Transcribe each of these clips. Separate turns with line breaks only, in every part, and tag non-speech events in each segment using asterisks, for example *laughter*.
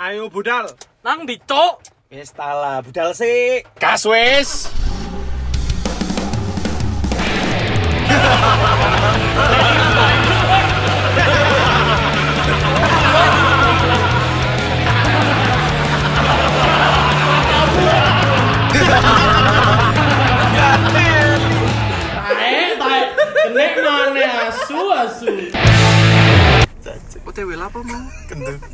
Ayo budal.
Nang ndi, Cuk?
Wis tala, budal sik.
Gas wis.
Tae, tae. Kene maneh asu asu.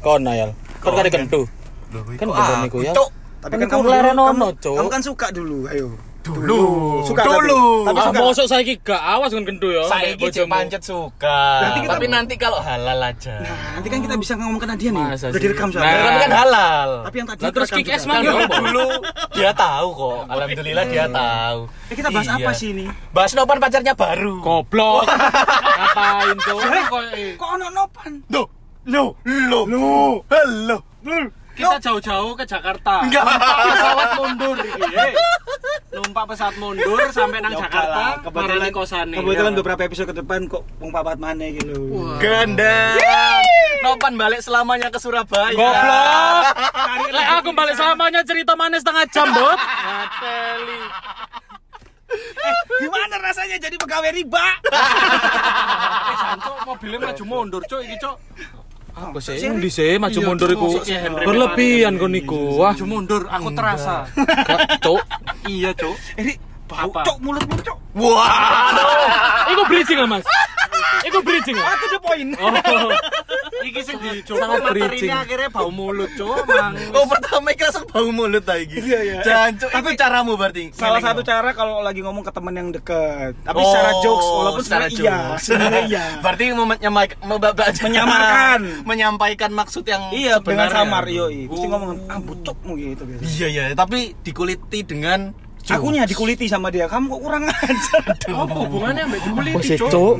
Kon ayal. Kon kare kentu. Kan
Ah,
ah,
gendong niku ya.
Oh,
Tapi
Kan iku leren ono, Cuk.
Kamu kan suka dulu, ayo.
Dulu.
Suka Tapi,
Dulu.
tapi
Ah,
suka.
mosok saiki gak awas kon kendo ya.
Saiki
ambek
cek
bojomu.
pancet suka.
Nanti kita-
Tapi nanti kalau halal aja.
Nanti kan kita bisa ngomong kena dia nih. Udah
Masa sih?
direkam
Nah.
soalnya.
Tapi kan halal.
Tapi yang tadi
Lah, terus
terekam
kick ass
juga.
mang yo.
Kan dulu dia tahu kok. Alhamdulillah dia tahu.
Eh, kita bahas
Iya.
apa sih ini?
Bahas nopan pacarnya baru.
*laughs*
Goblok. Ngapain tuh?
Kok ono *laughs* nopan?
Lo, lo, lo, lo, lo.
Kita jauh-jauh ke Jakarta.
Enggak.
Numpak pesawat mundur iki. eh. Numpak pesawat mundur sampai
*laughs*
nang Jakarta, marani kosane.
Ya kebetulan beberapa episode ke depan kok wong papat maneh gitu.
Ganda. Nopan balik selamanya ke Surabaya.
Goblok. Lek Eh, aku balik selamanya cerita manis setengah jam, Bot. Ngateli.
Gimana rasanya jadi pegawai riba?
Eh, jancuk, mobilnya maju mundur, Cuk, iki, Cuk.
Apa sih?
Endi sih maju
Iya,
mundur iku? Berlebihan kon niku. Wah,
Maju mundur, aku terasa.
gak, Cuk.
Iya, Cuk.
Ini bau
Apa?
cok mulut mulut cok.
Iku bridging lah, Mas. Iku bridging. Mas.
Itu the point.
Oh.
Iki sing
Sangat
dicoba materi
bridging.
ini akhirnya bau mulut, Cuk. Mang.
Oh pertama iki langsung bau mulut ta iki.
Iya, iya.
Jancuk itu caramu berarti.
Salah
Ngeleng
satu
no.
cara kalau lagi ngomong ke temen yang deket. Tapi
Oh,
secara jokes walaupun secara iya,
jokes.
sebenarnya iya.
*laughs* Berarti mau menyamai- mau- ba- ba-
Menyamarkan.
*laughs* menyampaikan maksud yang
Iya, dengan
sebenarnya.
samar yoi. Mesti
Oh.
ngomong ah bucokmu gitu biasa.
Iya iya, tapi dikuliti dengan
Akunya dikuliti sama dia. Kamu kok kurang *laughs* ajar.
Apa hubungannya ambek kulit, Cuk?
Apa sih,
Cuk?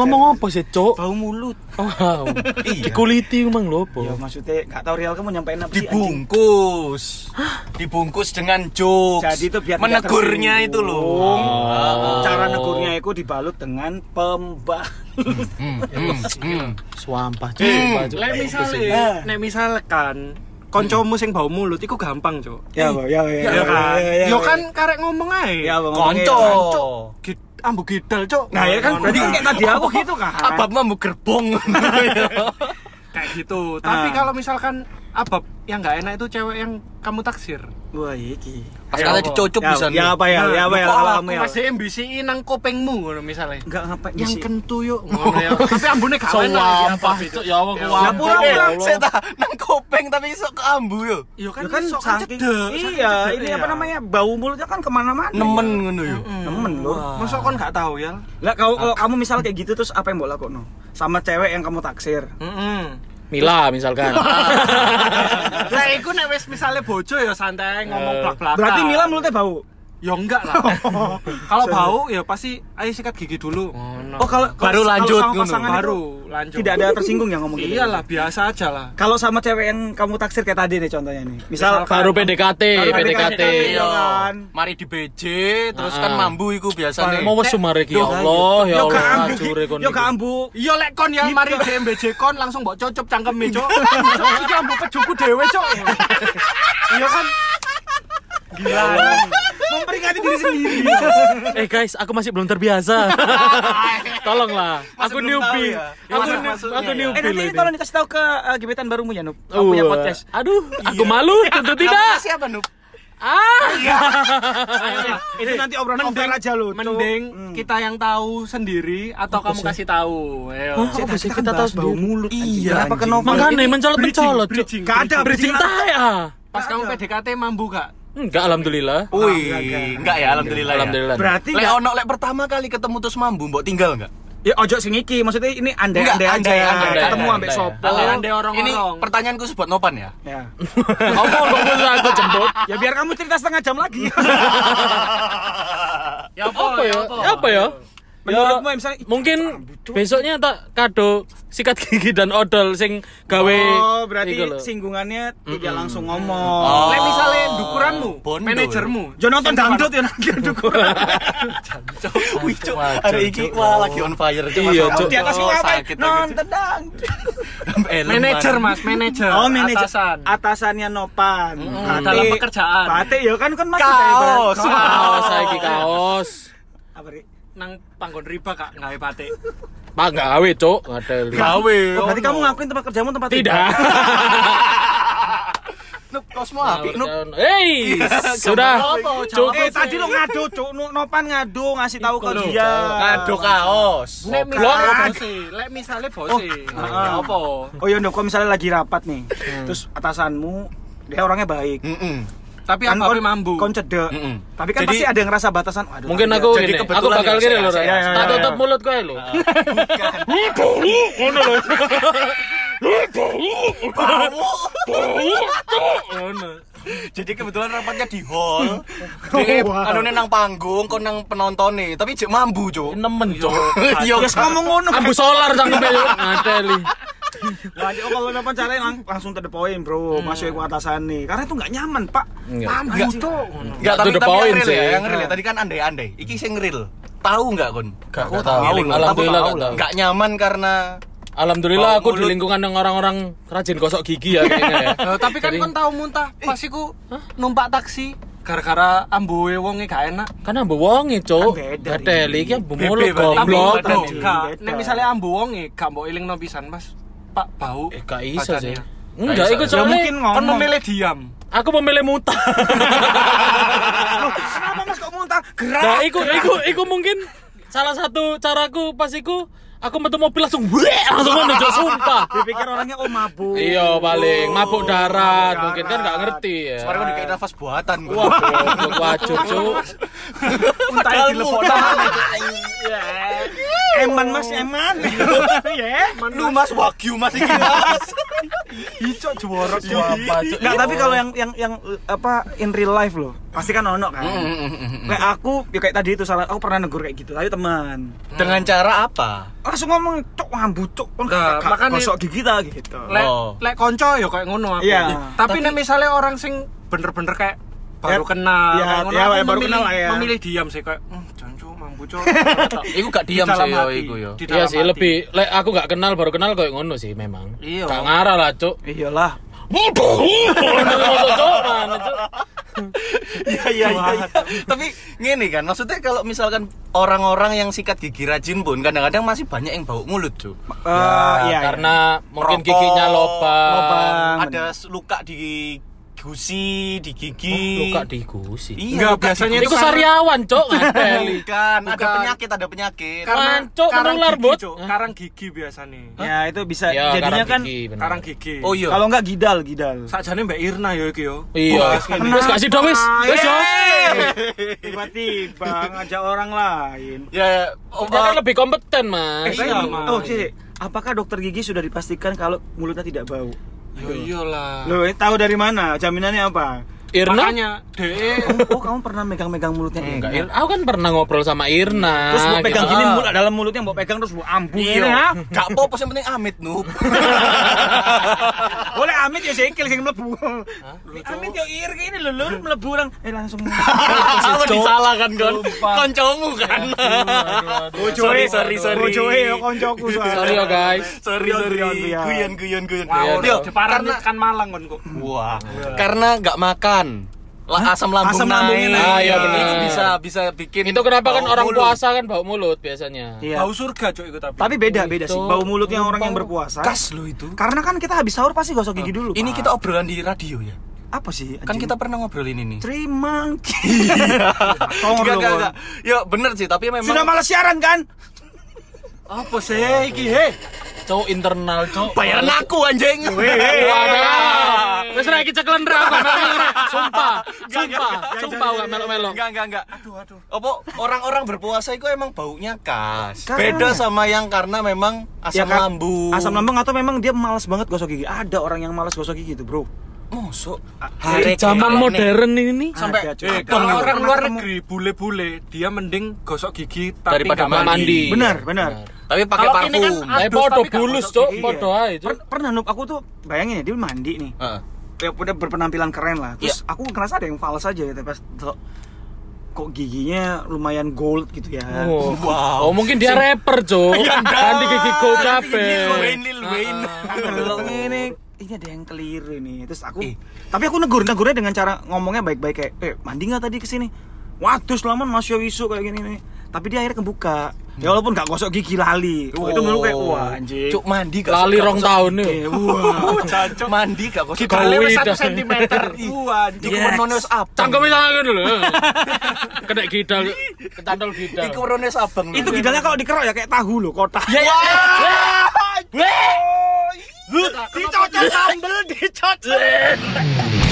Ngomong apa sih, Cuk?
Bau mulut.
Oh,
Iya.
dikuliti emang lho
Ya
apa?
maksudnya nggak tahu real kamu nyampein apa sih anjing.
dibungkus. Dibungkus dengan jokes.
Jadi itu biar tidak
menegurnya itu
tersinggung. Oh.
loh.
Cara negurnya itu dibalut dengan *laughs* pembalut.
Hmm, hmm, hmm.
Swampah,
Hmm.
Cuk.
Lek
Nah,
misale,
Ya
nek misale kan kancamu sing bau mulut iku gampang, Cuk.
Ya, Bang. ya, ya,
Ya kan?
ya, ya, ya.
Yo kan karek ngomong ae.
Ya, Bang.
Konco.
Gid- ambu gidal, Cuk.
Nah, ya kan berarti kan kayak tadi aku gitu kan.
Abab mah mau *laughs* gerbong.
*laughs* kayak gitu. Tapi
Ah.
kalau misalkan abab yang nggak enak itu cewek yang kamu taksir.
Wah, iki.
Pas kata dicucup
Ya,
bisa.
ya apa ya? Ya apa ya?
kok
Kalau
aku
kamu ya.
masih MBCI nang kopengmu ngono misalnya.
Enggak ngapain
Yang
sih.
kentu yuk ngono ya. *laughs* Tapi ambune gak
So,
enak.
wampah, Cuk. Ya Allah,
Ya,
wampah.
pura-pura.
Saya tak nang kopeng tapi iso ke ambu yo.
Yo kan
Ya kan
sok
saking
cedek,
iya
sok cedek
ini
ya.
apa namanya bau mulutnya kan kemana-mana
Nemen ngono yo.
nemen lho
Masa kon gak tahu ya?
lah kalau, kalau kamu misal kayak gitu terus apa yang mbok lakukan sama cewek yang kamu taksir
Heeh.
Mila misalkan.
*laughs* Lah iku nek wis misale bojo ya santai ngomong
Eh,
blak-blakan.
berarti Mila mulutnya bau
ya enggak
*laughs*
lah. Kalau bau ya pasti ayo sikat gigi dulu.
oh kalau kalau-
Baru
kalau
lanjut,
sama
ngono.
pasangan
Baru
itu
lanjut.
tidak ada tersinggung yang ngomong gitu
Iyalah biasa aja Iya lah.
kalau sama cewek yang kamu taksir kayak tadi nih contohnya nih misal
Misalkan-
Baru PDKT,
Baru
PDKT.
Ya
Iya
Yo.
kan.
Ya Mari di BJ terus kan
Ah.
mambu iku biasanya.
Mau wes sumare iki ya Allah, ya
yo
Allah
kambu
ngajure kon.
yo
iki.
kambu
Iya lek kon ya mari JMBJ kon langsung mbok cocok cangkeme, Cok. Eh, Cok *laughs* iki ambu pejuku dhewe, Cok. Iya kan? Gila.
memperingati diri sendiri
Eh guys, aku masih belum terbiasa. Tolonglah, aku
belum tahu
newbie.
ya?
Aku
Masuk-
new-
masuknya
aku
ya?
eh
newbie
nanti
loh
ini
ini.
tolong dikasih tahu ke eh, gebetan barumu ya Nup kamu punya
Wah,
podcast
Aduh, aku malu, tentu tidak.
siapa Nup?
Ah,
itu
iya.
nanti obrolan off air aja lu
Mending kita yang tahu sendiri atau kamu kasih tahu.
Iya.
Ayo.
apa sih kita tahu bau mulut iya apa ke novel
makanya mencolot-mencolot. Cuk.
Bridging.
gak ada
Bridging tae ah.
Pas kamu PDKT mambu gak?
Enggak, alhamdulillah.
Ah,
Wih, enggak ya alhamdulillah. ya.
Alhamdulillah.
berarti
Lek
gak-
ono lek pertama kali ketemu terus mambu mbok tinggal enggak?
ya ojo sing iki maksudnya ini andai andai
Enggak,
aja
andai,
ya
andai,
ketemu
andai,
ambek
andai.
sopo
Aliran de
Ini
*laughs*
orang-orang.
pertanyaanku buat Nopan
*laughs*
ya.
ya
Aku aku aku jemput.
ya biar
*laughs*
kamu cerita setengah jam lagi
Ya
Apa ya? Apa ya?
Menurutmu misalnya
mungkin besoknya tak kado sikat gigi dan odol sing gawe
Oh, berarti
iku lho.
singgungannya tidak langsung ngomong.
Lek misalnya dukuranmu,
Bondo.
manajermu.
Jo nonton dangdut ya nanti dukun.
*laughs* Wih, Cuk, hari iki wah lagi on fire Cuk.
Iya,
Masa
Cuk.
Di atas
aku
ngapain?
sakit lagi, Cuk.
Nonton dangdut.
Elem,
Manajer
Mas.
mas, manajer.
Oh, manajer
Atasan.
atasannya Nopan. Berarti-
dalam pekerjaan.
Berarti ya kan kan masih
Kaos.
kaos saiki kaos
Apa Ri?
Nang panggon riba kak nggak hebat
pak gawe cok ngadeli
Gawe.
Oh, berarti
ono.
kamu ngakuin tempat kerjamu tempat
tidak
*laughs*
Nup, kosmo apik nup.
hei
Iya,
sudah
Apa,
Cuk,
jawab
eh,
apa,
tadi
Cuk?
lo ngado, Cuk. Nu- Nopan ngado ngasih tahu ke dia.
Ngadu kaos.
Lek misalnya bose, lek misalnya bose. Nah, ya
Heeh.
Apa?
Oh iya, Ndok, kalau misalnya lagi rapat nih. Terus atasanmu dia orangnya baik.
Mm-mm.
Tapi apa
Kan kon-
mambu?
Kon cedek.
Mm-mm.
Tapi kan
Jadi-
pasti ada yang ngerasa batasan. Waduh,
mungkin
tadi
aku
Jadi
ini aku
kebetulan
bakal
ya,
gini
saya-
lho Ray.
saya- Ah.
saya-
tak
saya-
tutup mulut gue lho
Jadi kebetulan rapatnya di *laughs* hall. Dek, anone nang panggung, kon nang penontonnya tapi jek mambu, Cuk. Iya,
nemen cok
Ya yes, ngomong ngono.
ambu solar ya. cangkeme yo ngadeli
Lah, Cuk, kalau nopan caranya lang- langsung to the point, Bro. Masuk ke atasan nih. Karena itu nggak nyaman, Pak.
Iya.
Enggak.
Paham
Nggak.
Cuk.
Enggak,
To
tapi
the
tapi yang
point
real
sih.
ya, yang real ya. Tadi kan andai-andai. Iki sing real. Tahu enggak, Kon?
Nggak,
Aku
nggak tahu.
Ngiling,
Alhamdulillah,
tapi
nggak tahu.
Nggak nyaman karena
alhamdulillah
Bau
aku di
mulut.
lingkungan yang orang-orang rajin gosok gigi ya kayaknya ya
Loh, tapi kan
Jadi- Eh.
kon tau muntah, pas iku numpak taksi gara-gara ambuwe wonge e gak enak.
Kan ambu wonge, Cuk.
Kan beda,
Gadeli iki ambu
Bebe
mulut
berarti,
goblok.
beda, Cuk.
e Gak,
iya,
Beda.
nek misalnya ambu wonge gak mbok elingno pisan, Mas. Pak bau.
Eh, gak iso sih.
Padanya.
Enggak,
Gak iso.
iku
Ya
soalnya
mungkin
Kon
ngomong.
kan memilih diam.
aku memilih muta.
Loh, Kenapa Mas kok muntah? Gerak.
Nah, iku iku iku mungkin salah satu caraku pas iku aku metu mobil langsung weh langsung ngono Cuk, sumpah.
Dipikir orangnya oh mabuk.
Iya paling mabuk darat mungkin kan nggak
darat.
ngerti ya.
Suara kon dikai nafas buatan, Kon. *laughs*
Wah, goblok, wajib cuk.
Padahal muda. *laughs*
Eman Mas, eman. Ya.
Lu Mas Wagyu Mas iki, Mas.
Ico jorok
Cuk, apa, Cuk?
Nggak, tapi kalau yang yang yang eh, apa in real life loh, pasti kan ono kan. Kayak aku ya kayak tadi itu salah, aku pernah negur kayak gitu. Ayo teman.
*laughs* Dengan cara apa?
Langsung ngomong cok ngambu cuk kon
Nah,
kakak,
makanya-
gosok gigi ta gitu.
Lek
Oh.
lek konco ya kayak ngono aku.
Iya.
Tapi nek misalnya orang sing bener-bener kayak
Iya.
baru
Ya,
kenal,
ya,
kayak
ya,
aku
ya, baru
memilih-
kenal lah ya.
Memilih diam sih kayak, "Hmm, jancu mampu cok.
*laughs* Iku gak diam
dalam
sih yo
hati.
iku yo.
Di
Iya
dalam
sih
hati.
lebih lek aku nggak kenal baru kenal kayak ngono sih memang.
Iya.
Gak ngarah lah cuk.
Iyalah.
Masuk, Cuk, mana, Cuk?
Iya iya iya. *laughs* Tapi ngene kan, maksudnya kalau misalkan orang-orang yang sikat gigi rajin pun kadang-kadang masih banyak yang bau mulut, Cuk.
Eh, iya, iya.
Ya, karena mungkin
Merokok,
giginya lobang.
lobang.
Ah, Ada s- luka di gusi, Oh, di gigi.
Luka digusi.
Iya,
Enggak,
luka di
biasanya
gusi.
Iku sariawan, Cok, ngadeli.
Bukan, kan? ada
Bukan.
penyakit, ada penyakit.
karena
Cuk,
karang
menular,
gigi,
Bud.
Cuk.
Hah?
Karang gigi biasanya.
Ya itu bisa
Ya,
jadinya
karang
kan
gigi, bener.
Karang gigi.
Oh iya.
kalau enggak gidal, gidal.
Sakjane Mbak Irna yo iki Oh, yo.
Iya. Wis gak sida wis. Wis yo.
Ah, iya. Tiba-tiba ngajak orang lain.
Ya, oh,
Dia kan
uh,
lebih kompeten, Nah, Mas.
Saya-
Iya, Mas.
Oh, sih. Apakah dokter gigi sudah dipastikan kalau mulutnya tidak bau?
Yo iyalah.
Loh, eh, tahu dari mana? Jaminannya apa?
Irna?
Makanya DE
Oh, kamu pernah megang-megang mulutnya dia?
Enggak, Ir- aku kan pernah ngobrol sama Irna.
Terus mau pegang
gitu.
gini mulut dalam mulutnya mau pegang terus mau ya? ambu
iya.
ini, ha?
Gak apa-apa, yang penting amit, Nup. *laughs*
*laughs* Boleh amit ya sikil sing mlebu. Amit yo ir gini lho lur mlebu orang eh *laughs* langsung.
Aku disalahkan, Gon. Koncomu kan. Sorry, sorry, sorry.
Bojoe yo koncoku
Ah. Sorry
soalnya.
yo guys.
Sorry,
Rion,
sorry.
Rion.
Guyon, guyon, guyon.
Wow,
Yo,
Jepara kan Malang kon kok.
Wah, karena nggak makan. Lah asam lambung
Asam lambungnya
naik.
naik.
Ah, iya, benar.
Itu bisa bisa bikin
Itu kenapa kan
bau
orang
mulut.
puasa kan bau mulut biasanya.
Iya.
Bau surga cok iku tapi.
Tapi beda beda sih
Itu
bau mulut yang orang yang
bau.
berpuasa.
Kas lo itu.
Karena kan kita habis sahur pasti gosok gigi dulu.
Ini
Pak.
kita obrolan di radio ya.
apa sih?
Kan kita pernah ngobrolin ini.
terima. *laughs* Tolong
Enggak,
dong,
enggak,
Gon.
enggak. Ya bener sih, tapi memang
Sudah malas siaran kan?
apa sih iki he?
Cok internal, Cok.
bayaran aku anjing.
Wadah. Wis ra iki ceklen ra kok melok-melok. Sumpah, sumpah, sumpah gak melok-melok.
Enggak, enggak, enggak. Aduh, aduh. Apa orang-orang berpuasa itu emang baunya khas.
Khas.
Beda sama yang karena memang asam
Ya, kan?
lambung.
Asam lambung atau memang dia malas banget gosok gigi? Ada orang yang malas gosok gigi itu, Bro.
Mosok
Di
eh,
zaman
eh,
modern ini
sampai
Ada, cuy.
Eh,
Ketemu.
kalau orang luar
Ketemu.
negeri bule-bule dia mending gosok gigi tapi
Daripada
nggak
mandi.
Benar, benar.
tapi pakai
Kalau ini kan
parfum.
ada-
Tapi
Aduh,
podo
tapi gak
bulus
podo
cok,
gigi,
podo
iya.
aja cok
Per- pernah Nup, aku tuh bayangin ya dia mandi nih
Heeh.
ya udah berpenampilan keren lah terus
Iya.
aku ngerasa ada yang fals aja gitu pas delok, kok giginya lumayan gold gitu ya
Oh.
Wow.
Oh mungkin dia rapper
*laughs*
cok Ganti gigi go
Lil
capek
Wayne, Lil Wayne.
ah. Delok Kan ini ini ada yang keliru nih terus aku tapi aku negur negurnya dengan cara ngomongnya baik-baik kayak eh mandi nggak tadi kesini waduh selaman masih wisu kayak gini nih tapi dia akhirnya kebuka
Hmm.
ya walaupun nggak gosok gigi lali Wah,
Oh.
itu menurut kayak wah anjing
Cuk mandi gak
Lali
suka,
rong
gosok
tahun nih
Eh, wah
*laughs* Cuk, mandi gak kok
Kita
Kali wis
lidah.
satu sentimeter Iya Iku
Yes.
menone wis abang
Cangkemnya sangat dulu Kena gidal Kecandol gidal
Iku menone wis abang
itu gidalnya kalau dikerok ya kayak tahu loh kotak
Oh, Dicocok sambel Dicocok